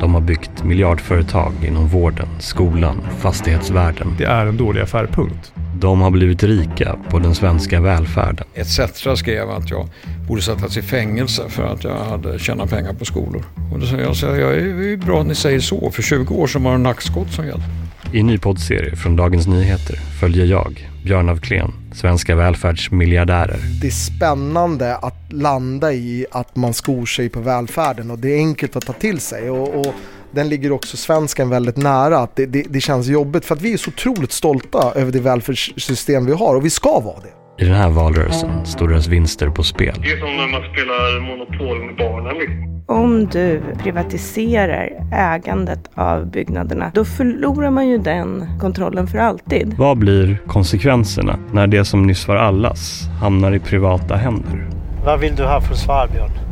De har byggt miljardföretag inom vården, skolan, fastighetsvärlden. Det är en dålig affär, punkt. De har blivit rika på den svenska välfärden. etc. skrev att jag borde sättas i fängelse för att jag hade tjänat pengar på skolor. Och då sa jag, så jag är det är bra att ni säger så. För 20 år sedan var det nackskott som gällde. I en ny poddserie från Dagens Nyheter följer jag, Björn af Kleen, svenska välfärdsmiljardärer. Det är spännande att landa i att man skor sig på välfärden och det är enkelt att ta till sig. Och, och den ligger också svensken väldigt nära. Att det, det, det känns jobbigt för att vi är så otroligt stolta över det välfärdssystem vi har och vi ska vara I det. den här valrörelsen står deras vinster på spel. Det är som när man spelar Monopol med barnen. Liksom. Om du privatiserar ägandet av byggnaderna, då förlorar man ju den kontrollen för alltid. Vad blir konsekvenserna när det som nyss var allas hamnar i privata händer? Vad vill du ha för svar, Björn?